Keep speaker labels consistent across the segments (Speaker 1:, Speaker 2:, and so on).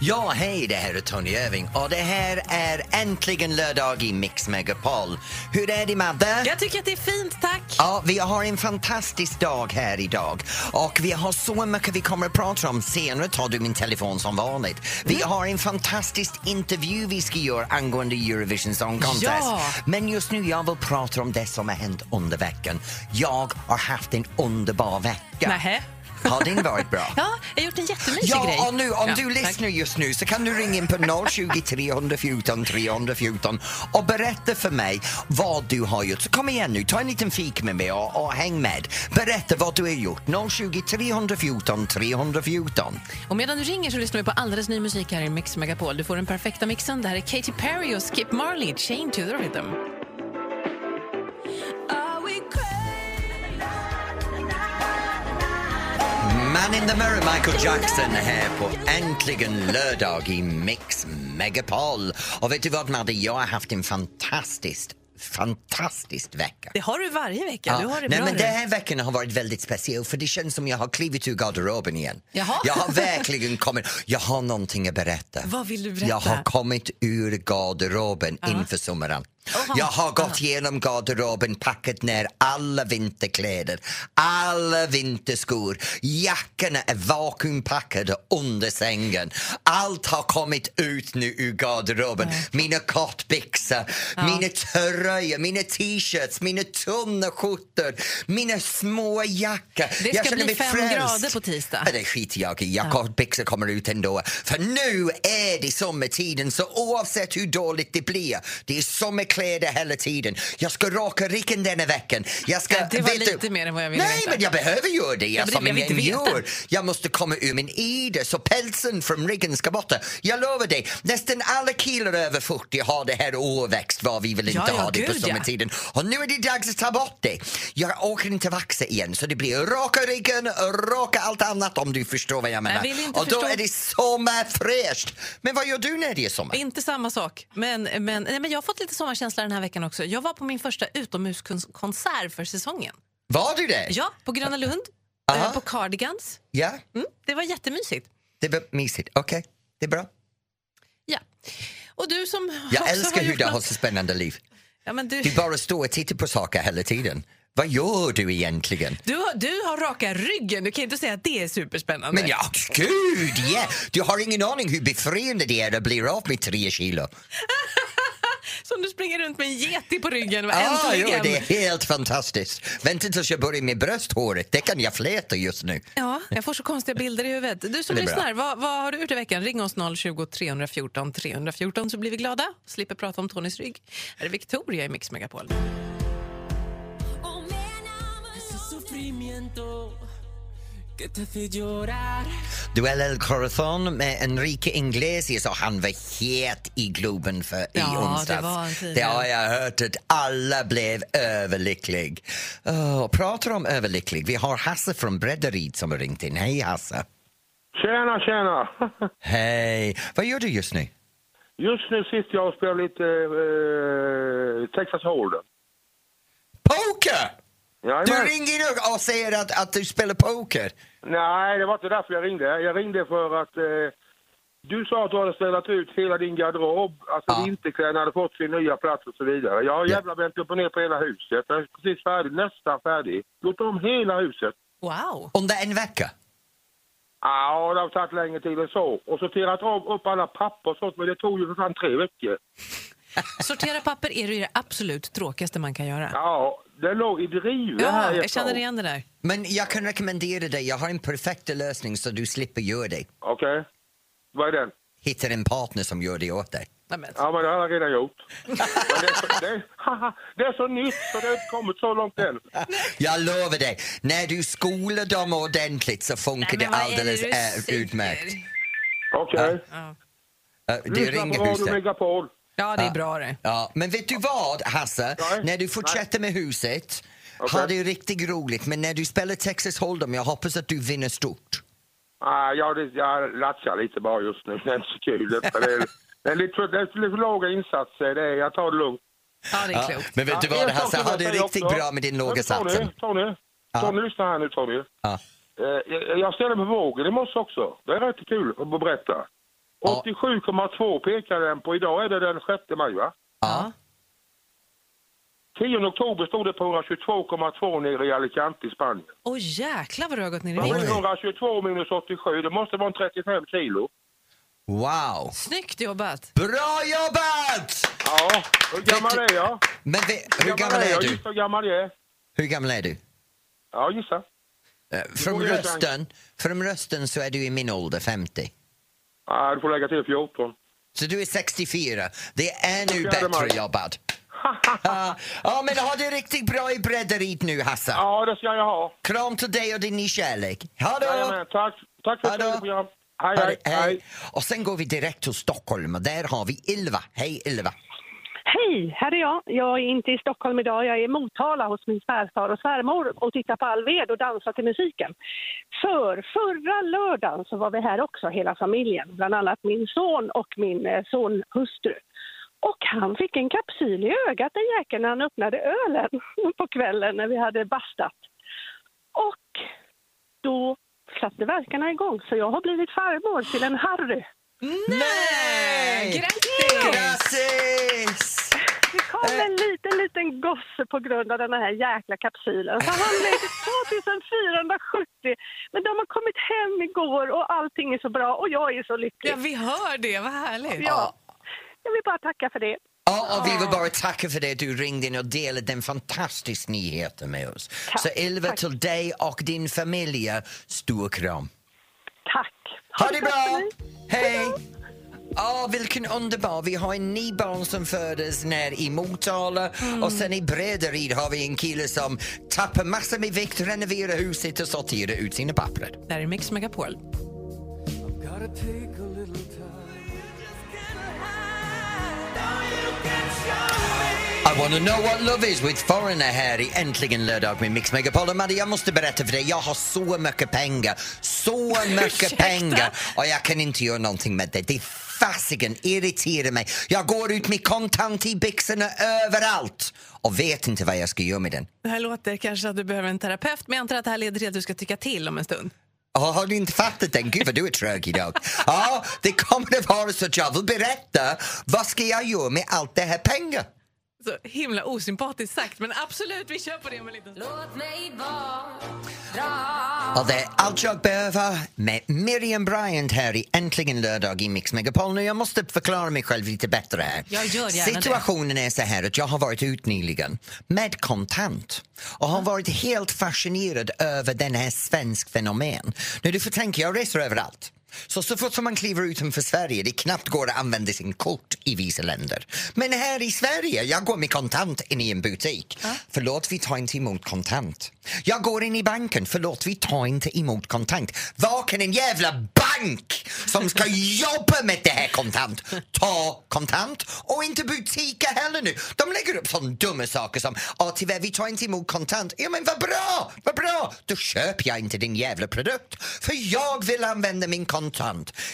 Speaker 1: Ja, hej, det här är Tony Irving och det här är äntligen lördag i Mix Megapol. Hur är det Madde?
Speaker 2: Jag tycker att det är fint, tack.
Speaker 1: Ja, vi har en fantastisk dag här idag och vi har så mycket vi kommer att prata om. Senare tar du min telefon som vanligt. Vi
Speaker 2: Mm.
Speaker 1: har en fantastisk intervju vi ska göra angående Eurovision Song Contest.
Speaker 2: Ja.
Speaker 1: Men just nu jag vill prata om det som har hänt under veckan. Jag har haft en underbar vecka.
Speaker 2: Nähä.
Speaker 1: Har din varit bra?
Speaker 2: Ja, jag har gjort en jättemysig grej.
Speaker 1: Ja, och nu, om
Speaker 2: Ja,
Speaker 1: du
Speaker 2: tack.
Speaker 1: lyssnar just nu så kan du ringa in på 020 314 314 och berätta för mig vad du har gjort. Så kom igen nu, ta en liten fik med mig och, och häng med. Berätta vad du har gjort. 020 314 314.
Speaker 2: Och medan du ringer så lyssnar vi på alldeles ny musik här i Mix Megapol. Du får den perfekta mixen. Det här är Katy Perry och Skip Marley, Chain to the Rhythm.
Speaker 1: Man in the mirror, Michael Jackson här på Äntligen lördag i Mix Megapol. Och vet du vad Madde, jag har haft en fantastisk, fantastisk vecka.
Speaker 3: Det har du varje vecka. Du har det
Speaker 1: Nej,
Speaker 3: bra.
Speaker 1: men
Speaker 3: du.
Speaker 1: den här veckan har varit väldigt speciell för det känns som jag har klivit ur garderoben igen.
Speaker 2: Jaha.
Speaker 1: Jag har verkligen kommit. Jag har någonting att berätta.
Speaker 3: Vad vill du berätta?
Speaker 1: Jag har kommit ur garderoben inför sommaren. Jag har gått igenom garderoben, packat ner alla vinterkläder, alla vinterskor. Jackorna är vakuumpackade under sängen. Allt har kommit ut nu ur garderoben. Mina kortbyxor, mina tröjor, mina t-shirts, mina tunna skjortor, mina små jackor.
Speaker 2: Det
Speaker 1: jag
Speaker 2: ska
Speaker 1: känner
Speaker 2: bli
Speaker 1: mig
Speaker 2: fem
Speaker 1: frälst.
Speaker 2: grader på tisdag.
Speaker 1: Ja, det skiter jag i. Jag kortbyxor kommer ut ändå. För nu är det sommartiden så oavsett hur dåligt det blir, det är sommarkläder hela tiden. Jag ska raka ryggen denna veckan. Jag ska,
Speaker 2: Ja, det var
Speaker 1: vet
Speaker 2: lite mer än vad jag ville
Speaker 1: Nej,
Speaker 2: veta.
Speaker 1: men jag behöver göra det. Jag,
Speaker 2: men det-
Speaker 1: som
Speaker 2: jag
Speaker 1: en
Speaker 2: vill inte veta.
Speaker 1: gör. Jag måste komma ur min ide så pälsen från ryggen ska borta. Jag lovar dig, nästan alla killar över 40 har det här åväxt var vi vill inte
Speaker 2: Ja, ja,
Speaker 1: ha det på
Speaker 2: gud, ja.
Speaker 1: sommartiden tiden. Och nu är det dags att ta bort det. Jag orkar inte vaxa igen så det blir raka ryggen, raka allt annat om du förstår vad jag menar.
Speaker 2: vill inte
Speaker 1: och då
Speaker 2: förstå.
Speaker 1: är det sommarfräscht. Men vad gör du när det är sommar?
Speaker 2: Inte samma sak. Men, men, nej, men jag har fått lite sommarkänsla den här veckan också. Jag var på min första utomhuskonsert för säsongen.
Speaker 1: Var du det?
Speaker 2: Ja, på Gröna Lund,
Speaker 1: Aha.
Speaker 2: eh, på Cardigans.
Speaker 1: Ja,
Speaker 2: Mm, det var jättemysigt.
Speaker 1: det var mysigt. Okej, det är bra.
Speaker 2: Ja. Och du som
Speaker 1: Jag
Speaker 2: också
Speaker 1: älskar
Speaker 2: har
Speaker 1: hur
Speaker 2: gjort
Speaker 1: du har
Speaker 2: något-
Speaker 1: så spännande liv.
Speaker 2: Ja, men du,
Speaker 1: Du bara står och tittar på saker hela tiden. Vad gör du egentligen?
Speaker 2: du, har, du har raka ryggen. Du kan inte säga att det är superspännande.
Speaker 1: Men ja, gud ja! Du har ingen aning hur befriande det är att bli av med tre kilo.
Speaker 2: Som du springer runt med en yeti på ryggen.
Speaker 1: Ah, jo,
Speaker 2: äntligen!
Speaker 1: det är helt fantastiskt. Vänta tills jag börjar med brösthåret, det kan jag fläta just nu.
Speaker 2: Ja, jag får så konstiga bilder i huvudet. Du som
Speaker 1: Det är bra.
Speaker 2: lyssnar, vad, vad har du gjort i veckan? Ring oss 020 314 314 så blir vi glada. Slipper prata om Tonys rygg. Här är Victoria i Mix Megapol.
Speaker 1: Duell El Corazon med Enrique Iglesias och han var het i Globen för i
Speaker 2: Ja, det
Speaker 1: onsdags.
Speaker 2: var han
Speaker 1: det
Speaker 2: tydligen.
Speaker 1: har jag hört att alla blev överlycklig. Oh, pratar om överlycklig, vi har Hasse från Bredderid som har ringt in. Hej Hasse!
Speaker 4: Tjena, tjena!
Speaker 1: Hej! Vad gör du just nu?
Speaker 4: Just nu sitter jag och spelar lite eh, Texas Hold'em.
Speaker 1: Poker!
Speaker 4: Jajamän.
Speaker 1: Du ringer nu och säger att, att du spelar poker.
Speaker 4: Nej, det var inte därför jag ringde. Jag ringde för att eh, du sa att du hade ställt ut hela din garderob. Alltså
Speaker 1: Ja.
Speaker 4: vinterkläderna hade fått sin nya plats och så vidare. Jag har
Speaker 1: Ja.
Speaker 4: jävla vänt upp och ner på hela huset. Jag är precis färdig, nästan färdig. Gjort om hela huset.
Speaker 2: Wow!
Speaker 1: Under en vecka?
Speaker 4: Ja, det har tagit längre tid än så. Och sorterat om upp alla papper och sånt, men det tog ju för fan tre veckor.
Speaker 2: Sortera papper är det ju det absolut tråkigaste man kan göra.
Speaker 4: Ja, det låg i drivet här
Speaker 2: Ja,
Speaker 4: ett
Speaker 2: jag känner
Speaker 4: tag.
Speaker 2: igen det där.
Speaker 1: Men jag kan rekommendera dig, jag har en perfekt lösning så du slipper göra det.
Speaker 4: Okej. Vad är den?
Speaker 1: Hittar en partner som gör det åt dig.
Speaker 2: Nej, men.
Speaker 4: Ja, men det har jag redan gjort. Men det, är så, det, är, haha, det är så nytt så det har inte kommit så långt än.
Speaker 1: Jag lovar dig, när du skolar dem ordentligt så funkar
Speaker 2: Nej, men
Speaker 1: det
Speaker 2: vad är det
Speaker 1: alldeles
Speaker 2: du
Speaker 1: eh,
Speaker 2: säger?
Speaker 1: utmärkt.
Speaker 4: Okej.
Speaker 2: Ja.
Speaker 1: Eh, Du
Speaker 4: Lyssna på
Speaker 1: ringer
Speaker 4: Radio
Speaker 1: huset.
Speaker 4: Megapol.
Speaker 2: ja, det är bra det.
Speaker 1: Ja, men vet du vad, Hasse?
Speaker 4: Nej.
Speaker 1: När du fortsätter med huset,
Speaker 4: Okej.
Speaker 1: ha det riktigt roligt. Men när du spelar Texas Hold'em, jag hoppas att du vinner stort.
Speaker 4: Ah, jag, jag latchar lite bara just nu. Det är inte så kul. Det är, det är lite för, det är lite för låga insatser. Det är, jag tar det lugnt.
Speaker 2: Ja, det är klokt.
Speaker 1: Men vet du
Speaker 4: Ja,
Speaker 1: vad,
Speaker 4: en sak
Speaker 1: Hasse?
Speaker 4: som
Speaker 1: Ha
Speaker 4: jag
Speaker 1: det
Speaker 4: säger
Speaker 1: riktigt
Speaker 4: också.
Speaker 1: bra med din låga
Speaker 4: Men Tony,
Speaker 1: satsen.
Speaker 4: Tony, Tony, lyssna här nu Tony.
Speaker 1: Ja.
Speaker 4: Eh, jag- jag ställde mig på vågen i morse också. Det är rätt kul att berätta.
Speaker 1: Ja.
Speaker 4: 87,2 pekar den på. Idag är det den 6 maj, va?
Speaker 1: Ja.
Speaker 4: 10 oktober stod det på 122,2 nere i Alicante i Spanien.
Speaker 2: Åh jäklar vad du har gått ner i
Speaker 1: Vad var
Speaker 2: vikt.
Speaker 1: det?
Speaker 4: 122 minus 87, det måste vara en 35 kilo.
Speaker 1: Wow!
Speaker 2: Snyggt jobbat!
Speaker 1: Bra jobbat!
Speaker 4: Ja, hur gammal är jag?
Speaker 1: Men vi, hur gammal är
Speaker 4: jag?
Speaker 1: du?
Speaker 4: Gissa hur gammal jag är.
Speaker 1: Hur gammal är du?
Speaker 4: Ja, gissa.
Speaker 1: Eh, Från
Speaker 4: borde jag
Speaker 1: rösten, från rösten så är du i min ålder, 50.
Speaker 4: Ja, du får lägga till 14.
Speaker 1: Så du är 64. Det är ännu
Speaker 4: Fjärde maj.
Speaker 1: bättre jobbat. Ja, ja, men ha det riktigt bra i bredderiet nu, Hassa.
Speaker 4: Ja, det ska jag ha.
Speaker 1: Kram till dig och din nykärlek. Ha
Speaker 4: Jajamän,
Speaker 1: det!
Speaker 4: tack, tack för ett
Speaker 1: Hallå.
Speaker 4: trevligt program. Hej, hej, hej.
Speaker 1: Och sen går vi direkt till Stockholm och där har vi Ilva. Hej Ilva!
Speaker 3: Hej, här är jag. Jag är inte i Stockholm idag. Jag är i Motala hos min svärfar och svärmor och tittar på Alved och dansar till musiken. För förra lördagen så var vi här också, hela familjen. Bland annat min son och min eh, sonhustru. Och han fick en kapsyl i ögat, den jäkeln, när han öppnade ölen på kvällen när vi hade bastat. Och då satte verkarna igång, så jag har blivit farmor till en Harry.
Speaker 1: Nej!
Speaker 2: Grattis!
Speaker 1: Grattis!
Speaker 3: Det kom en liten, liten gosse på grund av den här jäkla kapsylen. Så han blev 2470. Men de har kommit hem igår och allting är så bra och jag är så lycklig.
Speaker 2: Ja, vi hör det. Vad härligt.
Speaker 3: Ja. Jag vill bara tacka för det.
Speaker 1: Ja, och vi vill bara tacka för det du ringde in och delade den fantastiska nyheten med oss.
Speaker 3: Tack,
Speaker 1: Så Ilva,
Speaker 3: tack.
Speaker 1: till dig och din familj, stor kram.
Speaker 3: Tack!
Speaker 1: Ha det
Speaker 3: gott för
Speaker 1: bra!
Speaker 3: mig.
Speaker 1: Hej! Ja, vilken underbar. Vi har en ny barn som föddes när i Motala
Speaker 3: Mm.
Speaker 1: och sen i Bredarid har vi en kille som tappar massor med vikt, renoverar huset och sorterar ut sina papper.
Speaker 2: Det här är Mix Megapol.
Speaker 1: I wanna know what love is with foreigner här i Äntligen lördag med Mix Megapol. Och Madde, jag måste berätta för dig, jag har så mycket pengar, så mycket
Speaker 2: Ursäkta?
Speaker 1: pengar och jag kan inte göra någonting med det. Det fasiken irriterar mig. Jag går ut med kontant i byxorna överallt och vet inte vad jag ska göra med den.
Speaker 2: Det här låter kanske att du behöver en terapeut, men jag antar att det här leder till att du ska tycka till om en stund.
Speaker 1: Ja, har du inte fattat den? Gud vad du är trög idag. Ja, det kommer att vara så att jag vill berätta vad ska jag göra med allt det här pengar?
Speaker 2: Så himla osympatiskt sagt, men absolut, vi kör på det om en liten stund.
Speaker 1: Och det är allt jag behöver med Miriam Bryant här i Äntligen lördag i Mix Megapol. Nu jag måste förklara mig själv lite bättre här.
Speaker 2: Jag gör gärna det.
Speaker 1: Situationen är så här att jag har varit ut nyligen med kontant och har varit helt fascinerad över den här svensk fenomen. Nu du får tänka, jag reser överallt. Så, så fort som man kliver utanför Sverige det knappt går att använda sin kort i vissa länder. Men här i Sverige, jag går med kontant in i en butik. Förlåt, vi tar inte emot kontant. Jag går in i banken, förlåt, vi tar inte emot kontant. Vad kan en jävla bank som ska jobba med det här kontant ta kontant? Och inte butiker heller nu. De lägger upp sådana dumma saker som ah, tyvärr, vi tar inte emot kontant. Ja, men vad bra, vad bra! Då köper jag inte din jävla produkt. För jag vill använda min kontant.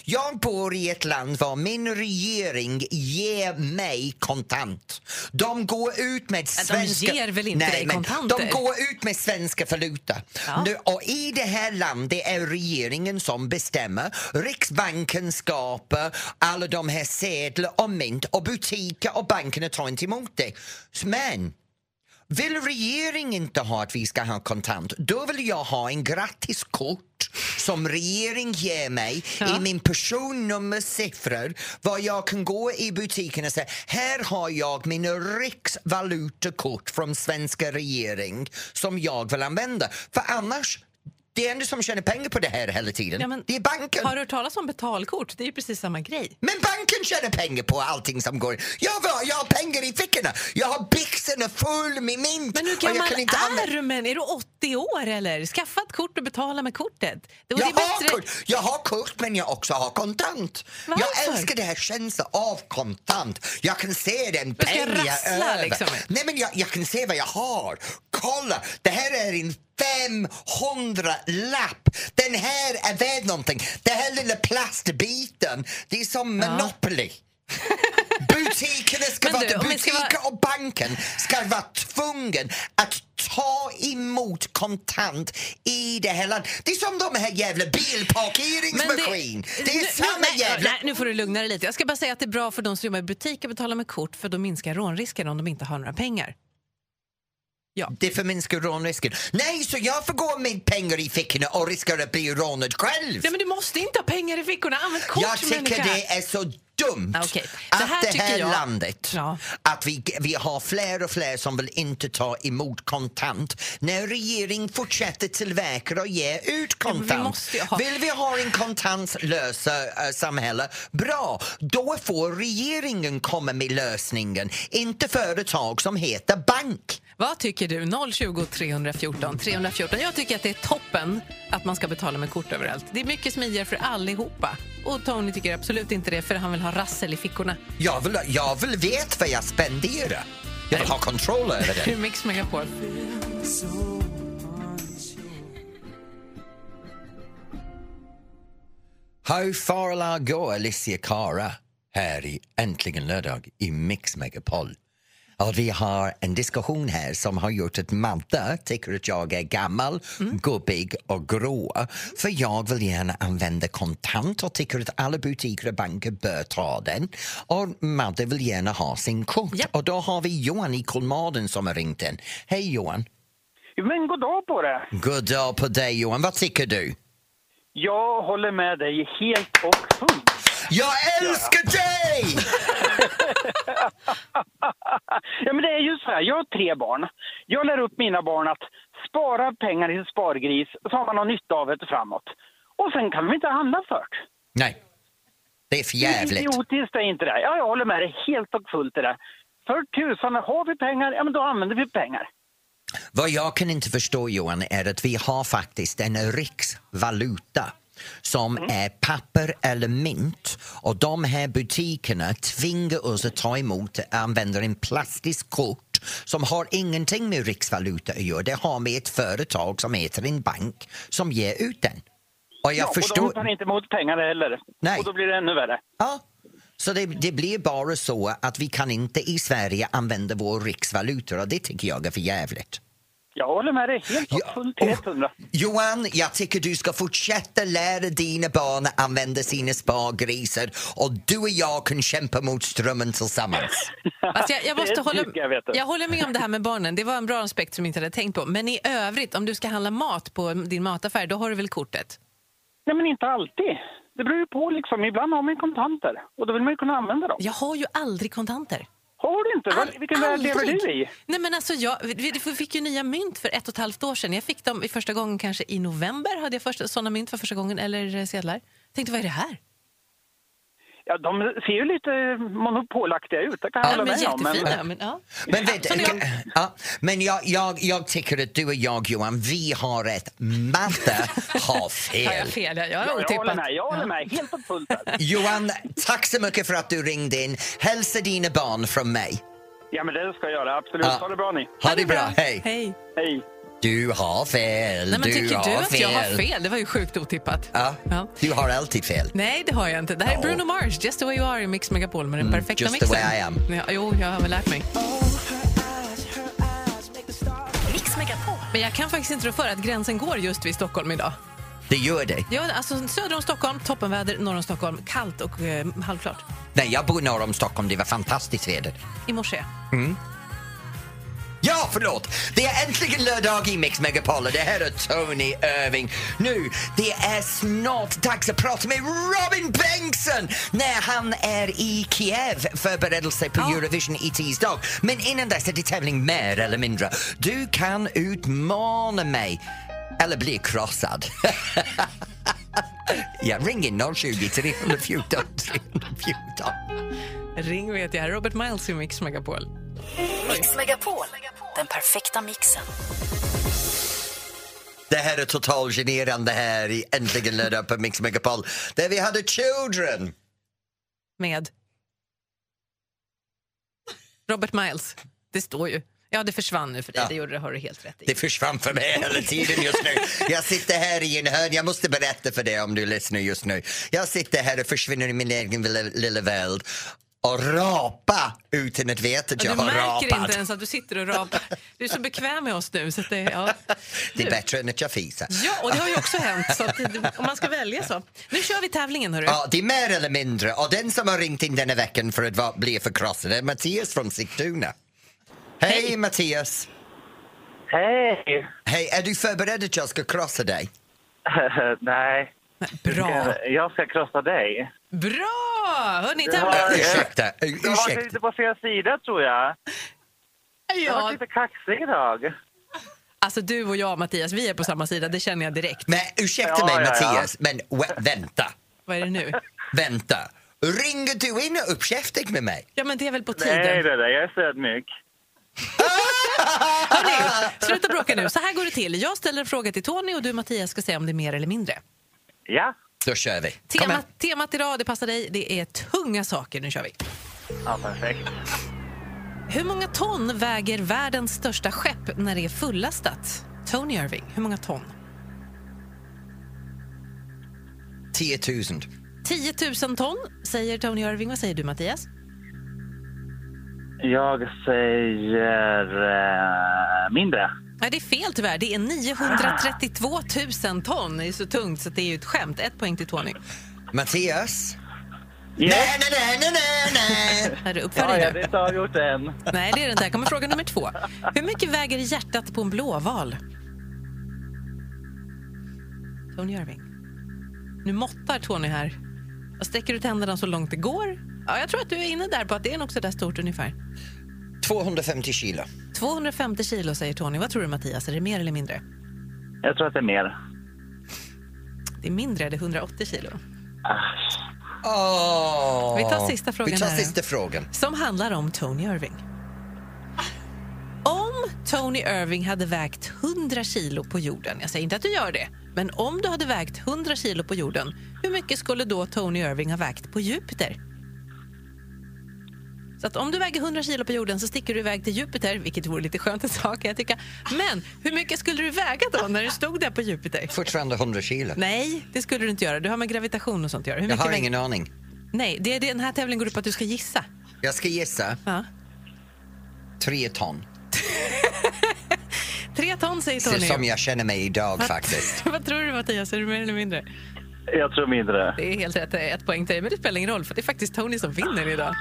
Speaker 1: Jag bor i ett land var min regering ger mig kontant. De går ut med
Speaker 2: de
Speaker 1: svenska...
Speaker 2: ger väl inte
Speaker 1: Nej,
Speaker 2: dig
Speaker 1: men
Speaker 2: kontanter?
Speaker 1: De går ut med svenska valuta.
Speaker 2: Ja.
Speaker 1: Nu, och I det här landet det är regeringen som bestämmer. Riksbanken skapar alla de här sedlar och mynt och butiker och bankerna tar inte emot det. Men vill regeringen inte ha att vi ska ha kontant, då vill jag ha en gratiskort som regering ger mig
Speaker 2: Ja.
Speaker 1: i min personnummersiffror var jag kan gå i butiken och säga här har jag min riksvalutakort från svenska regering som jag vill använda. För annars, det är enda som tjänar pengar på det här hela tiden,
Speaker 2: Ja, men-
Speaker 1: det är banken.
Speaker 2: Har du hört talas om betalkort? Det är ju precis samma grej.
Speaker 1: Men banken tjänar pengar på allting som går. Jag, var, jag har pengar i fickorna, jag har byxorna full med mynt.
Speaker 2: Men hur
Speaker 1: och jag
Speaker 2: gammal
Speaker 1: kan
Speaker 2: är
Speaker 1: inte använda-
Speaker 2: du? Men är du 80 år eller? Skaffa ett kort och betala med kortet. Det var
Speaker 1: Jag
Speaker 2: det
Speaker 1: har,
Speaker 2: bättre.
Speaker 1: kort, jag har kort men jag också har kontant. Jag
Speaker 2: Varför?
Speaker 1: älskar det här känslan av kontant. Jag kan se den
Speaker 2: Men ska jag
Speaker 1: pengar
Speaker 2: rassla,
Speaker 1: över.
Speaker 2: liksom?
Speaker 1: Nej men jag, jag kan se vad jag har. Kolla, det här är en 500 lapp. Den här är värd någonting. Den här lilla plastbiten, det är som Monopoly. Butikerna ska
Speaker 2: Men
Speaker 1: vara,
Speaker 2: du, om vi ska
Speaker 1: butiker
Speaker 2: vara-
Speaker 1: och banken ska vara tvungen att ta emot kontant i det här landet. Det är som de här jävla bilparkeringsmaskin. Det, är
Speaker 2: nu-
Speaker 1: samma
Speaker 2: nu, nej,
Speaker 1: jävla...
Speaker 2: Nej, nu får du lugna dig lite. Jag ska bara säga att det är bra för de som jobbar i butiker att betala med kort för då minskar rånrisken om de inte har några pengar.
Speaker 1: Det förminskar rånrisken. Nej, så jag får gå med pengar i fickorna och riskera att bli rånad själv.
Speaker 2: Nej, men du måste inte ha pengar i fickorna. Använd kort,
Speaker 1: jag tycker
Speaker 2: människa.
Speaker 1: det är så dumt
Speaker 2: Ah, okej. Så här
Speaker 1: att det
Speaker 2: tycker
Speaker 1: här
Speaker 2: jag-
Speaker 1: landet,
Speaker 2: Ja.
Speaker 1: att vi, vi har fler och fler som vill inte ta emot kontant. När regeringen fortsätter tillverka och ge ut
Speaker 2: vi
Speaker 1: kontant.
Speaker 2: måste ju ha-
Speaker 1: Vill vi ha en kontantlösa eh, samhälle, bra, då får regeringen komma med lösningen, inte företag som heter bank.
Speaker 2: Vad tycker du? 020 314 314. Jag tycker att det är toppen att man ska betala med kort överallt. Det är mycket smidigare för allihopa. Och Tony tycker absolut inte det för han vill ha rassel i fickorna.
Speaker 1: Jag vill, jag vill veta vad jag spenderar. Jag vill ha kontroll över det.
Speaker 2: Hur Mix Megapol?
Speaker 1: How far will I go, Alicia Cara? Här i Äntligen lördag i Mix Megapol. Och vi har en diskussion här som har gjort att Madde tycker att jag är gammal, gubbig och grå. För jag vill gärna använda kontant och tycker att alla butiker och banker bör ta den. Och Madde vill gärna ha sin kort.
Speaker 2: Ja.
Speaker 1: Och då har vi Johan i Kolmården som har ringt in. Hej Johan!
Speaker 5: Men god dag på det.
Speaker 1: God dag på dig Johan, vad tycker du?
Speaker 5: Jag håller med dig helt och fullt.
Speaker 1: Jag älskar dig!
Speaker 5: Ja, men det är ju så här, jag har tre barn. Jag lär upp mina barn att spara pengar i en spargris så har man någon nytta av det framåt. Och sen kan vi inte handla för det.
Speaker 1: Nej, det är för
Speaker 5: Det är
Speaker 1: jävligt.
Speaker 5: Idiotiskt är inte det. Ja, jag håller med dig helt och fullt i det. För tusan, har vi pengar, ja men då använder vi pengar.
Speaker 1: Vad jag kan inte förstå, Johan, är att vi har faktiskt en riksvaluta som
Speaker 5: Mm.
Speaker 1: är papper eller mynt och de här butikerna tvingar oss att ta emot och använda en plastisk kort som har ingenting med riksvaluta att göra. Det har med ett företag som heter en bank som ger ut den. Och jag
Speaker 5: ja,
Speaker 1: förstår...
Speaker 5: Och de tar inte emot pengar heller.
Speaker 1: Nej.
Speaker 5: Och då blir det ännu värre.
Speaker 1: Ja. Så det, det blir bara så att vi kan inte i Sverige använda vår riksvaluta och det tycker jag är för jävligt.
Speaker 5: Jag håller med dig helt och
Speaker 1: Ja,
Speaker 5: fullt till 100.
Speaker 1: Johan, jag tycker du ska fortsätta lära dina barn att använda sina spargrisar och du och jag kan kämpa mot strömmen tillsammans.
Speaker 2: Fast jag, jag,
Speaker 5: Det
Speaker 2: måste
Speaker 5: tycker
Speaker 2: hålla,
Speaker 5: jag, vet du.
Speaker 2: jag håller med om det här med barnen. Det var en bra aspekt som jag inte hade tänkt på. Men i övrigt, om du ska handla mat på din mataffär, då har du väl kortet?
Speaker 5: Nej, men inte alltid. Det beror ju på. Liksom. Ibland har man ju kontanter och då vill man ju kunna använda dem.
Speaker 2: Jag har ju aldrig kontanter.
Speaker 5: Har du inte?
Speaker 2: All-
Speaker 5: All, Vilken värld lever
Speaker 2: aldrig.
Speaker 5: du i?
Speaker 2: Nej, men alltså jag, vi- vi vi fick ju nya mynt för ett och ett halvt år sedan. Jag fick dem i första gången kanske i november. Hade jag första, såna mynt för första gången, eller eh, sedlar. Tänkte, vad är det här?
Speaker 5: Ja, de ser ju lite monopolaktiga ut, det kan jag
Speaker 2: Ja,
Speaker 5: hålla
Speaker 2: men
Speaker 5: med om.
Speaker 2: jättefina. Men,
Speaker 5: Men,
Speaker 2: ja.
Speaker 1: Men, vet,
Speaker 2: Som jag.
Speaker 1: ja, men jag, jag, jag tycker att du och jag, Johan, vi har rätt. Matte har
Speaker 2: Har jag
Speaker 1: fel.
Speaker 2: fel? Jag jag har
Speaker 5: jag håller
Speaker 2: otippat.
Speaker 5: med, jag håller med helt och fullt. där.
Speaker 1: Johan, tack så mycket för att du ringde in. Hälsa dina barn från mig.
Speaker 5: Ja, men det ska jag göra. Absolut.
Speaker 1: Ja.
Speaker 5: Ha det bra ni.
Speaker 1: Ha det bra, hej.
Speaker 2: Hej.
Speaker 5: Hej.
Speaker 1: Du har fel,
Speaker 2: Nej, men
Speaker 1: du,
Speaker 2: tycker
Speaker 1: har
Speaker 2: du att
Speaker 1: fel.
Speaker 2: jag har fel? Det var ju sjukt otippat.
Speaker 1: Ja,
Speaker 2: Ja.
Speaker 1: Du har alltid fel.
Speaker 2: Nej, det har jag inte. Det här är
Speaker 1: Ja. Mm,
Speaker 2: Bruno Mars, Just the way you are i Mix Megapol med den perfekta
Speaker 1: just the
Speaker 2: mixen.
Speaker 1: way I am.
Speaker 2: Ja, jo, jag har väl lärt mig.
Speaker 6: Mix Megapol.
Speaker 2: Men jag kan faktiskt inte rå för att gränsen går just vid Stockholm idag.
Speaker 1: Det gör det.
Speaker 2: Ja, alltså, söder om Stockholm, toppenväder, norr om Stockholm, kallt och eh, halvklart.
Speaker 1: Nej, jag bor norr om Stockholm, det var fantastiskt väder.
Speaker 2: I morse.
Speaker 1: Ja, förlåt! Det är äntligen lördag i Mix Megapol och det här är Tony Irving. Nu, det är snart dags att prata med Robin Bengtsson när han är i Kiev förberedelse på
Speaker 2: Ja.
Speaker 1: Eurovision i tisdag. Men innan dess är det tävling mer eller mindre. Du kan utmana mig eller bli krossad. ja, ring in 020 314 314.
Speaker 2: Ring vet jag. Robert Miles i Mix Megapol.
Speaker 6: Mix Megapol. Den perfekta mixen.
Speaker 1: Det här är totalgenerande här i Äntligen lördag på Mix Megapol där vi hade Children.
Speaker 2: Med... Robert Miles. Det står ju. Ja, det försvann nu för dig.
Speaker 1: Ja.
Speaker 2: Det gjorde det, har du helt rätt i.
Speaker 1: Det försvann för mig hela tiden just nu. Jag sitter här i en hörn, jag måste berätta för dig om du lyssnar just nu. Jag sitter här och försvinner i min egen lilla, lilla värld och rapa utan att veta att
Speaker 2: Ja,
Speaker 1: jag
Speaker 2: du
Speaker 1: har
Speaker 2: märker
Speaker 1: rapat.
Speaker 2: inte ens att du sitter och rapar. Du är så bekväm med oss nu. Så att det, ja.
Speaker 1: Det är
Speaker 2: Nu.
Speaker 1: bättre än att jag fiser.
Speaker 2: Ja, och det har ju också hänt. Så att, det- om man ska välja så. Nu kör vi tävlingen, hörru.
Speaker 1: Ja, det är mer eller mindre. Och den som har ringt in denna veckan för att va- bli förkrossad är Mattias från Sigtuna. Hej, Mattias!
Speaker 5: Hej!
Speaker 1: Hej, är du förberedd att jag ska krossa dig?
Speaker 5: Nej.
Speaker 2: Bra!
Speaker 5: Jag ska krossa dig.
Speaker 2: Bra! Hörni,
Speaker 1: Äh,
Speaker 2: tävlingen...
Speaker 5: Ja,
Speaker 1: ursäkta, äh,
Speaker 5: Du har varit
Speaker 1: ursäkta.
Speaker 5: lite på fel sida tror jag. Du har varit
Speaker 2: Ja,
Speaker 5: lite kaxig idag.
Speaker 2: alltså du och jag, Mattias, vi är på samma sida. Det känner jag direkt.
Speaker 1: Men ursäkta
Speaker 5: Ja,
Speaker 1: mig
Speaker 5: ja, ja.
Speaker 1: Mattias, men wä- vänta,
Speaker 2: Vad är det nu?
Speaker 1: vänta. Ringer du in och uppkäftig med mig?
Speaker 2: Ja, men det är väl på
Speaker 5: Nej,
Speaker 2: tiden.
Speaker 5: det där, jag är så ödmjuk.
Speaker 2: Hörni, sluta bråka nu. Så här går det till. Jag ställer en fråga till Tony och du, Mattias, ska säga om det är mer eller mindre.
Speaker 5: Ja,
Speaker 1: Då kör vi. Kom igen.
Speaker 2: Temat, temat idag, det passar dig, det är tunga saker. Nu kör vi.
Speaker 5: ja perfekt.
Speaker 2: Hur många ton väger världens största skepp när det är fullastat? Tony Irving, hur många ton?
Speaker 1: 10 000.
Speaker 2: 10 000 ton, säger Tony Irving. Vad säger du, Mattias?
Speaker 5: Jag säger eh, mindre.
Speaker 2: Nej, det är fel tyvärr. Det är 932 000 ton. Det är så tungt så det är ju ett skämt. Ett poäng till Tony.
Speaker 1: Mattias?
Speaker 5: Yes.
Speaker 1: Nej, nej, nej, nej, nej, nej.
Speaker 2: Är du uppför
Speaker 5: Ja,
Speaker 2: dig
Speaker 5: ja, det
Speaker 2: nu?
Speaker 5: är inte avgjort än.
Speaker 2: Nej, det är det inte. Här kommer fråga nummer två. Hur mycket väger hjärtat på en blåval? Tony Irving. Nu måttar Tony här. Och sträcker ut händerna så långt det går. Ja, jag tror att du är inne där på att det är nog så där stort ungefär.
Speaker 1: 250 kilo.
Speaker 2: 250 kilo säger Tony. Vad tror du Mattias? Är det mer eller mindre?
Speaker 5: Jag tror att det är mer.
Speaker 2: Det är mindre, det är 180 kilo.
Speaker 5: Äh,
Speaker 1: Åh.
Speaker 2: Vi tar sista frågan
Speaker 1: Vi tar
Speaker 2: här då.
Speaker 1: sista frågan.
Speaker 2: Som handlar om Tony Irving. Om Tony Irving hade vägt 100 kilo på jorden, jag säger inte att du gör det, men om du hade vägt 100 kilo på jorden, hur mycket skulle då Tony Irving ha vägt på Jupiter? Så att om du väger 100 kilo på jorden så sticker du iväg till Jupiter, vilket vore lite skönt att ha kan jag tycka. Men hur mycket skulle du väga då när du stod där på Jupiter?
Speaker 1: Fortfarande 100 kilo.
Speaker 2: Nej, det skulle du inte göra. Du har med gravitation och sånt att göra. Hur
Speaker 1: Jag
Speaker 2: mycket
Speaker 1: har
Speaker 2: väger-
Speaker 1: ingen aning.
Speaker 2: Nej, det, det, den här tävlingen går ut på att du ska gissa.
Speaker 1: Jag ska gissa
Speaker 2: Ja.
Speaker 1: 3 ton.
Speaker 2: Tre ton säger
Speaker 1: Så
Speaker 2: Tony.
Speaker 1: som jag känner mig idag faktiskt.
Speaker 2: Vad tror du Mattias, är det mer eller mindre?
Speaker 5: Jag tror mindre.
Speaker 2: Det är helt rätt, eh, ett poäng till dig. Men det spelar ingen roll för det är faktiskt Tony som vinner idag.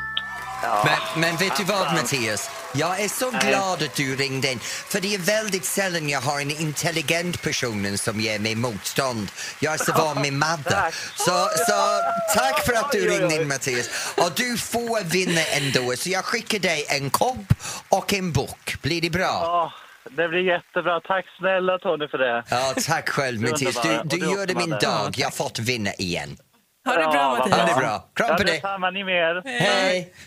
Speaker 1: Men, men vet du vad Mattias? Jag är så glad att du ringde in. För det är väldigt sällan jag har en intelligent person som ger mig motstånd. Jag är så van med madda. Så, så tack för att du
Speaker 5: Oj, oj, oj.
Speaker 1: ringde in Mattias. Och du får vinna ändå. Så jag skickar dig en kopp och en bok. Blir det bra?
Speaker 5: Ja, det blir jättebra. Tack snälla Tony för det.
Speaker 1: Ja, tack själv
Speaker 5: Du är
Speaker 1: Mattias.
Speaker 5: underbar.
Speaker 1: Du,
Speaker 5: Och
Speaker 1: du
Speaker 5: du
Speaker 1: gjorde
Speaker 5: också,
Speaker 1: min
Speaker 5: Madde.
Speaker 1: dag. Jag har fått vinna igen.
Speaker 2: Ha det bra
Speaker 5: Ja, vad
Speaker 2: Mattias.
Speaker 1: Ha det bra. Kram
Speaker 5: Ja,
Speaker 1: på dig.
Speaker 5: detsamma, ni med.
Speaker 1: Hej.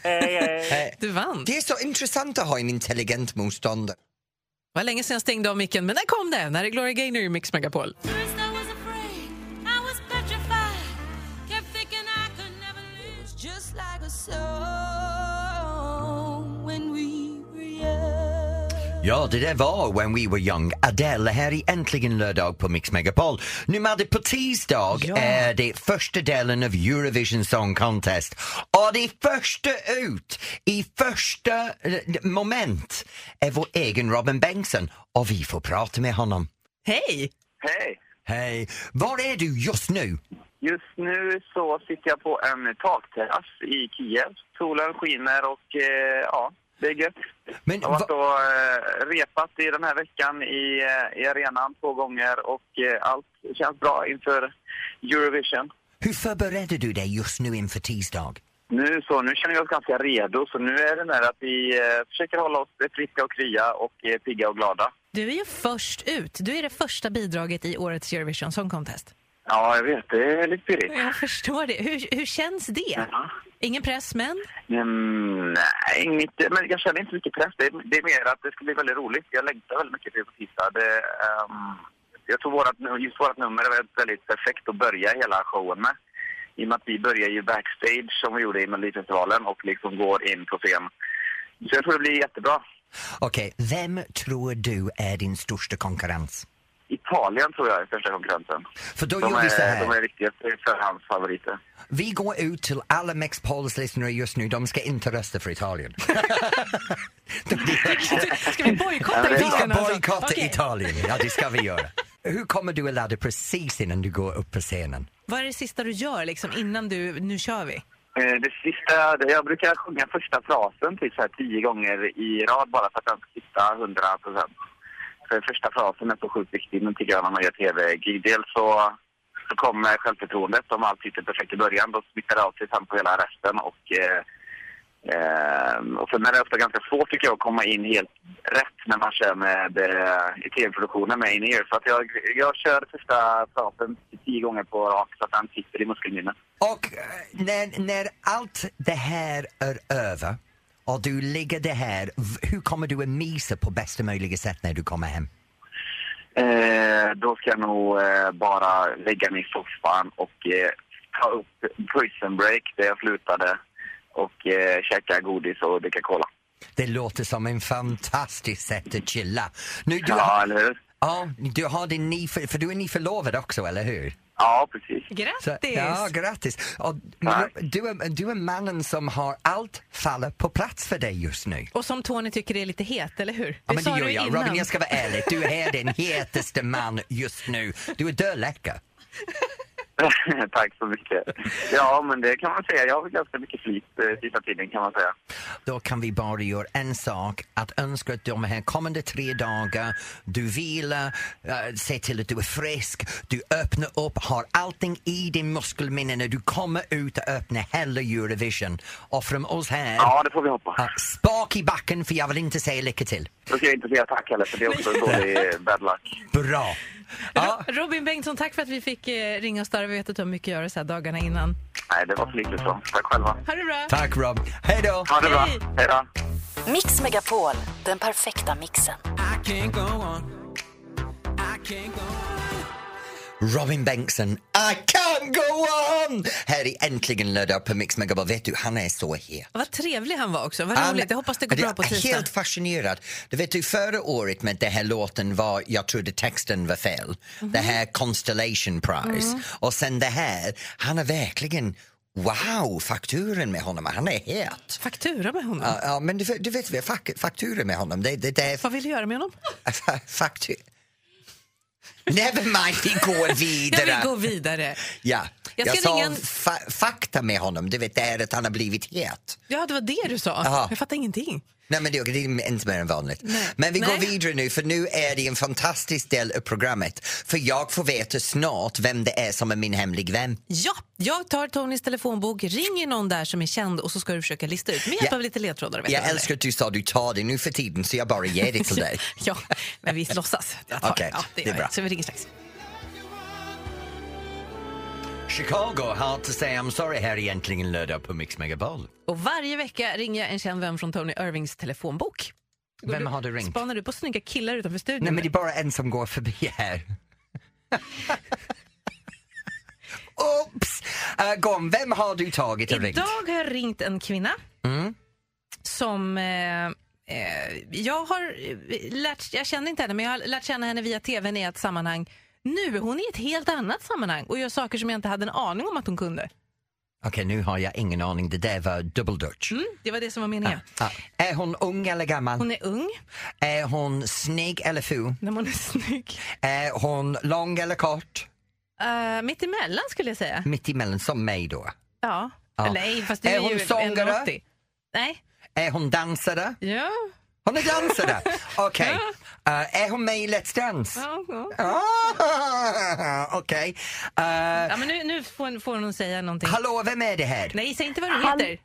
Speaker 5: Hej, hej.
Speaker 1: Hej.
Speaker 2: Du vann.
Speaker 1: Det är så intressant att ha en intelligent motståndare.
Speaker 2: Det var länge sedan jag stängde av micken, men där kom den. Här är Gloria Gaynor i Mix Megapol.
Speaker 7: First I was afraid, I was petrified. Kept thinking I could never lose, just like a song when we were young.
Speaker 1: Ja, det där var When We Were Young. Adele här i Äntligen lördag på Mix Megapol. Nu Madde, på tisdag är det första delen av Eurovision Song Contest. Och det första ut i första eh, moment är vår egen Robin Bengtsson och vi får prata med honom.
Speaker 2: Hej!
Speaker 8: Hej!
Speaker 1: Hej! Var är du just nu?
Speaker 8: Just nu så sitter jag på en takterrass i Kiev. Solen skiner och eh, ja, det är gött.
Speaker 1: Men
Speaker 8: Jag har varit
Speaker 1: va-
Speaker 8: och eh, repat i den här veckan i, eh, i arenan två gånger och eh, allt känns bra inför Eurovision.
Speaker 1: hur förbereder du dig just nu inför tisdag?
Speaker 8: Nu, så, nu känner vi oss ganska redo, så nu är det mer att vi eh, försöker hålla oss friska och krya och eh, pigga och glada.
Speaker 2: Du är ju först ut. Du är det första bidraget i årets Eurovision Song Contest.
Speaker 8: Ja, jag vet. Det är lite pirrigt.
Speaker 2: Jag förstår det. Hur, hur känns det?
Speaker 8: Ja.
Speaker 2: Ingen press, men?
Speaker 8: Mm, nej, inget, men jag känner inte mycket press. Det är, det är mer att det ska bli väldigt roligt. Jag längtar väldigt mycket till på tisdag. Det, ehm, jag tror vårat, nu- just vårt nummer är väldigt, väldigt perfekt att börja hela showen med. I och med att vi börjar ju backstage som vi gjorde i Melodifestivalen och liksom går in på scen. Så jag tror det blir jättebra.
Speaker 1: Okej, vem tror du är din största konkurrens?
Speaker 8: Italien tror jag är största konkurrenten.
Speaker 1: För då
Speaker 8: De
Speaker 1: gör vi så
Speaker 8: är,
Speaker 1: här.
Speaker 8: de är riktigt förhandsfavoriter.
Speaker 1: Vi går ut till alla Mix Pauls lyssnare just nu. De ska inte rösta för Italien.
Speaker 2: Ska vi bojkotta
Speaker 8: Ja,
Speaker 1: Vi ska
Speaker 2: Italien? alltså?
Speaker 1: bojkotta
Speaker 2: Okej.
Speaker 1: Italien. Ja, det ska vi göra. Hur kommer du att ladda precis innan du går upp på scenen?
Speaker 2: Vad är det sista du gör liksom, innan du, nu kör vi?
Speaker 8: Eh, Det sista, det- jag brukar sjunga första frasen typ så här tio gånger i rad bara för att den ska sitta hundra procent. För första frasen är så sjukt viktig, men tycker jag, när man gör tv-gig. Dels så, så kommer självförtroendet, om allt sitter perfekt i början, då smittar det av sig sen på hela resten och eh, Ehm, och sen är det ofta ganska svårt tycker jag att komma in helt rätt när man kör med, eh, i tv-produktionen med in ear. Så att jag, jag kör första frasen tio gånger på rak så att den sitter i muskelminnet.
Speaker 1: Och eh, när, när allt det här är över och du ligger det här, v- hur kommer du att mysa på bästa möjliga sätt när du kommer hem?
Speaker 8: Eh, då ska jag nog eh, bara lägga mig i soffan och eh, ta upp prison break där jag slutade och eh, käka godis och dricka cola.
Speaker 1: Det låter som en fantastisk sätt att chilla. Nu, du,
Speaker 8: Ja, eller hur?
Speaker 1: ja, du har din ny, för, för du är nyförlovad också, eller hur?
Speaker 8: Ja, precis.
Speaker 2: Grattis!
Speaker 1: Så, ja, grattis! Och, men,
Speaker 8: Tack.
Speaker 1: du, är, du är mannen som har allt faller på plats för dig just nu.
Speaker 2: Och som Tony tycker är lite het, eller hur?
Speaker 1: Ja, men det
Speaker 2: sa
Speaker 1: gör
Speaker 2: du
Speaker 1: jag.
Speaker 2: innan.
Speaker 1: Robin, jag ska vara ärlig. Du är den hetaste man just nu. Du är dödläcker.
Speaker 8: Tack så mycket. Ja, men det kan man säga. Jag har väl ganska mycket flit eh, sista tiden kan man säga.
Speaker 1: Då kan vi bara göra en sak, att önska att de här kommande tre dagar, du vilar, uh, se till att du är frisk, du öppnar upp, har allting i din muskelminne när du kommer ut och öppnar hela Eurovision. Och från oss här,
Speaker 8: Ja, det får vi hoppas.
Speaker 1: eh, spak i backen för jag vill inte säga lycka till.
Speaker 8: Då ska jag inte säga tack heller för det är också dålig eh, bad luck.
Speaker 1: Bra! Ja,
Speaker 2: Ro- Robin Bengtsson, tack för att vi fick eh, ringa och störa. Vi vet att du har mycket att göra så här dagarna innan.
Speaker 8: Nej, det var för lite så. Tack själva.
Speaker 2: Ha det bra!
Speaker 1: tack Rob. Hej då!
Speaker 8: Ha det bra.
Speaker 2: Hej.
Speaker 8: Hej då.
Speaker 6: Mix Megapol, den perfekta mixen.
Speaker 1: Robin Bengtsson, I can't go on! Här i Äntligen lördag på Mix Megapol. Vet du, han är så het.
Speaker 2: Vad trevlig han var också. Vad
Speaker 1: Han-
Speaker 2: roligt. Jag hoppas det går bra på tisdag.
Speaker 1: Jag är helt fascinerad. Du vet, du, förra året med den här låten var, jag trodde texten var fel.
Speaker 2: Mhm.
Speaker 1: Det här Constellation Prize.
Speaker 2: Mm.
Speaker 1: Och sen det här, han är verkligen, wow, fakturen med honom, han är het.
Speaker 2: Faktura med honom.
Speaker 1: Ja, ja, men du, du vet, vi har fak- fakturen med honom. Det, det, det är
Speaker 2: Vad vill du göra med honom?
Speaker 1: fa- faktur... Never mind, vi går
Speaker 2: Jag
Speaker 1: vidare.
Speaker 2: vill gå vidare.
Speaker 1: Ja,
Speaker 2: Jag
Speaker 1: jag,
Speaker 2: ska
Speaker 1: sa
Speaker 2: ringa en-
Speaker 1: fa- fakta med honom, du vet det är att han har blivit het.
Speaker 2: Ja, det var det du sa.
Speaker 1: Aha.
Speaker 2: Jag fattar ingenting.
Speaker 1: Nej men det det är inte mer än vanligt. Men vi går
Speaker 2: Nej.
Speaker 1: vidare nu för nu är det en fantastisk del av programmet. För jag får veta snart vem det är som är min hemlig vän.
Speaker 2: Ja, jag tar Tonys telefonbok, ringer någon där som är känd och så ska du försöka lista ut med hjälp
Speaker 1: Ja.
Speaker 2: av lite ledtrådar. vet
Speaker 1: Jag
Speaker 2: vad det är.
Speaker 1: älskar att du sa du tar det nu för tiden så jag bara ger det till dig.
Speaker 2: Ja, men vi låtsas. att Jag tar
Speaker 1: Okej,
Speaker 2: ja,
Speaker 1: det är
Speaker 2: gör
Speaker 1: bra.
Speaker 2: jag. Så vi ringer strax.
Speaker 1: Chicago, hard to say I'm sorry här egentligen lördag på Mix Megapol.
Speaker 2: Och varje vecka ringer jag en känd vän från Tony Irvings telefonbok.
Speaker 1: Vem har du ringt?
Speaker 2: Spanar du på snygga killar utanför studion?
Speaker 1: Nej men det är bara en som går förbi här. Oops! Uh, Gon, vem har du tagit och ringt? Mm.
Speaker 2: Idag har jag ringt en kvinna som... Eh, eh, jag har eh, lärt, jag känner inte henne, men jag har lärt känna henne via tvn i ett sammanhang. Nu är hon i ett helt annat sammanhang och gör saker som jag inte hade en aning om att hon kunde.
Speaker 1: Okej, nu har jag ingen aning. Det där var double dutch.
Speaker 2: Mm, det var det som var meningen.
Speaker 1: Ah. Är hon ung eller gammal?
Speaker 2: Hon är ung,
Speaker 1: Är hon snygg eller ful?
Speaker 2: när hon är snygg.
Speaker 1: Är hon lång eller kort?
Speaker 2: Uh, mitt emellan skulle jag säga.
Speaker 1: Mitt emellan, som mig då.
Speaker 2: Ja.
Speaker 1: Ja.
Speaker 2: Nej, fast du
Speaker 1: Är
Speaker 2: är,
Speaker 1: hon
Speaker 2: ju
Speaker 1: sångare?
Speaker 2: 1,80. Nej.
Speaker 1: Är hon dansare?
Speaker 2: Ja.
Speaker 1: Hon är dansare! Okej. Eh, är hon med i Let's Dance?
Speaker 2: ja, ja.
Speaker 1: Ah, Okej. Eh,
Speaker 2: ja men nu, nu får, får hon säga någonting.
Speaker 1: hallå, vem är det här?
Speaker 2: Nej, säg inte vad du heter.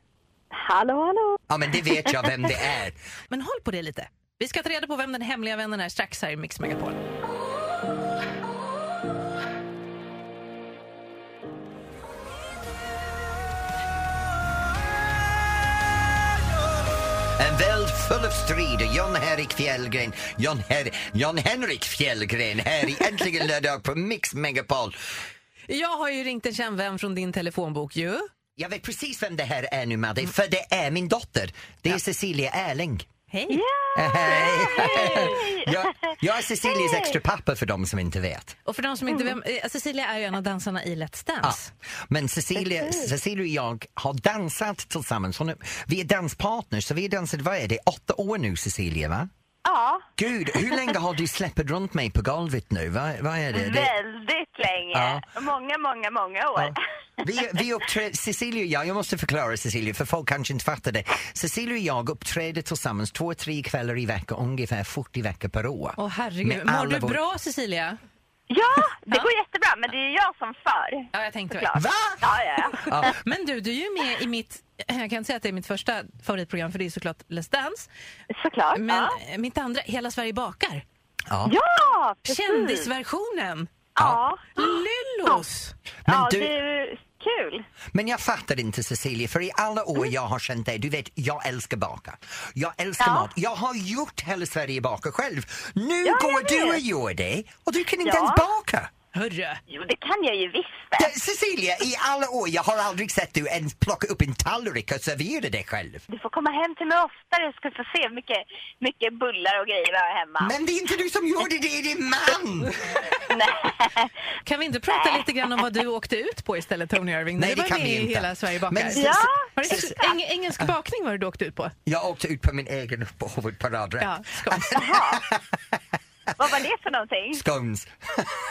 Speaker 9: Hallå, hallå!
Speaker 1: Ja, men det vet jag vem det är.
Speaker 2: Men håll på det lite. Vi ska ta reda på vem den hemliga vännen är strax här i Mix Megapol.
Speaker 1: En värld full av strider. John Henrik Fjällgren, John, Her- John Henrik Fjällgren här i Äntligen lördag på Mix Megapol.
Speaker 2: Jag har ju ringt en känd vän från din telefonbok ju.
Speaker 1: Jag vet precis vem det här är nu Madde, för det är min dotter. Det är Cecilia Erling.
Speaker 2: Hej!
Speaker 1: Hej!
Speaker 3: Hej!
Speaker 1: Jag, jag är Cecilias extra pappa för de som inte vet.
Speaker 2: Och för de som inte vem, eh, Cecilia är ju en av dansarna i Let's
Speaker 1: Ja.
Speaker 2: Dance.
Speaker 1: Men Cecilia, Cecilia och jag har dansat tillsammans. Hon är, vi är danspartners, så vi har dansat, vad är det, åtta år nu Cecilia va?
Speaker 3: Ja,
Speaker 1: Gud, hur länge har du släppt runt mig på golvet nu? Vad, vad är Eh, det? det
Speaker 3: väldigt länge.
Speaker 1: Ja.
Speaker 3: Många, många, många år.
Speaker 1: Ja. Vi, vi uppträder, Cecilia och jag, jag måste förklara Cecilia för folk kanske inte fattar det. Cecilia och jag uppträder tillsammans två, tre kvällar i veckan, ungefär 40 veckor per år.
Speaker 2: Åh herregud,
Speaker 1: Med
Speaker 2: mår
Speaker 1: alla
Speaker 2: du
Speaker 1: vår-
Speaker 2: bra Cecilia?
Speaker 3: Ja, det går jättebra, men det är jag som för.
Speaker 2: Ja, jag tänkte väl.
Speaker 3: Såklart.
Speaker 1: Va?
Speaker 3: Ja, ja, ja.
Speaker 1: Ja,
Speaker 2: Men du, du är ju med i mitt, jag kan inte säga att det är mitt första favoritprogram för det är såklart Let's Dance.
Speaker 3: Såklart.
Speaker 2: Men
Speaker 3: ja.
Speaker 2: eh, mitt andra, Hela Sverige bakar.
Speaker 1: ja.
Speaker 3: ja, precis.
Speaker 2: Kändisversionen.
Speaker 3: Ja,
Speaker 2: Ah. Lyllos.
Speaker 1: Men,
Speaker 3: ja
Speaker 1: du,
Speaker 3: det är kul.
Speaker 1: men jag fattar inte Cecilia, för i alla år
Speaker 3: Mm.
Speaker 1: jag har känt dig, du vet, jag älskar baka. Jag älskar
Speaker 3: Ja.
Speaker 1: mat. Jag har gjort hela Sverige baka själv. Nu
Speaker 3: jag
Speaker 1: går du
Speaker 3: vet.
Speaker 1: och gör det och du kan inte
Speaker 3: Ja.
Speaker 1: ens baka.
Speaker 2: Hörru.
Speaker 3: Jo, det kan jag ju visst.
Speaker 1: Ja, Cecilia, i alla år, jag har aldrig sett du ens plocka upp en tallrik och servera dig själv.
Speaker 3: Du får komma hem till mig oftare så ska du få se mycket, mycket bullar och grejer jag har hemma.
Speaker 1: Men det är inte du som gjorde det, det är din man!
Speaker 3: Nej.
Speaker 2: Kan vi inte prata lite grann om vad du åkte ut på istället Tony Irving?
Speaker 1: Nej,
Speaker 2: Du
Speaker 1: det
Speaker 2: var
Speaker 1: kan
Speaker 2: med
Speaker 1: vi
Speaker 2: i
Speaker 1: inte.
Speaker 2: Hela Sverige bakar.
Speaker 1: Men-
Speaker 3: Ja,
Speaker 2: Var det eng- eng- engelsk bakning var det du åkte ut på?
Speaker 1: Jag åkte ut på min egen huvudparadrätt.
Speaker 2: Ja, skoj.
Speaker 3: jaha. Vad var det för någonting?
Speaker 1: Scones.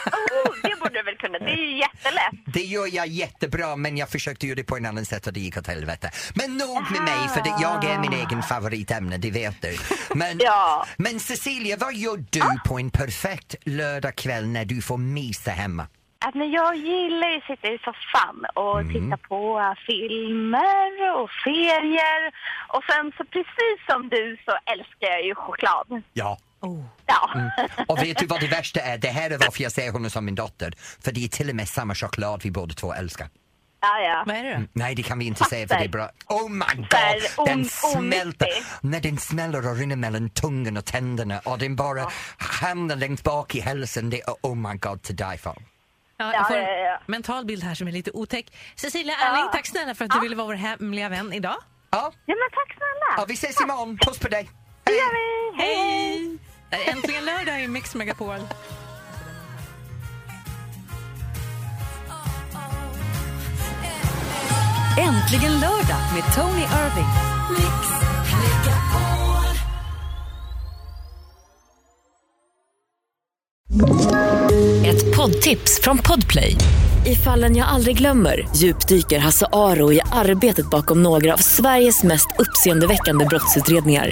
Speaker 3: Oh, det borde du väl kunna. Det är ju jättelätt.
Speaker 1: Det gör jag jättebra men jag försökte göra det på en annan sätt och det gick åt helvete. Men nog med mig för det, jag är min egen favoritämne, det vet du. Men,
Speaker 3: Ja.
Speaker 1: men Cecilia, vad gör du på en perfekt lördagkväll när du får mysa hemma?
Speaker 3: Att men jag gillar ju att sitta i soffan och
Speaker 10: Mm.
Speaker 3: titta på eh, filmer och serier. Och sen så precis som du så älskar jag ju choklad.
Speaker 1: Ja.
Speaker 3: Ja.
Speaker 10: Mm.
Speaker 1: Och vet du vad det värsta är? Det här är varför jag ser henne som min dotter. För det är till och med samma choklad vi båda två älskar.
Speaker 3: ja, ja.
Speaker 2: Vad är det då?
Speaker 1: Nej, det kan vi inte säga för det är bra. Oh my god!
Speaker 3: Där,
Speaker 1: Den
Speaker 3: on-
Speaker 1: smälter.
Speaker 3: onyttig.
Speaker 1: När den smäller och rinner mellan tungan och tänderna och den bara hamnar längst bak i hälsan. Det är oh my god to die for.
Speaker 2: Ja, jag får
Speaker 3: Ja, ja,
Speaker 2: en
Speaker 3: ja.
Speaker 2: mental bild här som är lite otäck. Cecilia Erling, tack snälla för att du ville vara vår hemliga vän idag.
Speaker 1: Ja,
Speaker 3: Ja, men tack
Speaker 1: ja,
Speaker 3: snälla.
Speaker 1: vi ses imorgon. Puss på dig!
Speaker 3: Det gör vi.
Speaker 2: Hej! Äh, Äntligen lördag i Mix Megapol.
Speaker 11: Äntligen lördag med Tony Irving.
Speaker 12: Ett poddtips från Podplay. I fallen jag aldrig glömmer djupdyker Hasse Aro i arbetet bakom några av Sveriges mest uppseendeväckande brottsutredningar.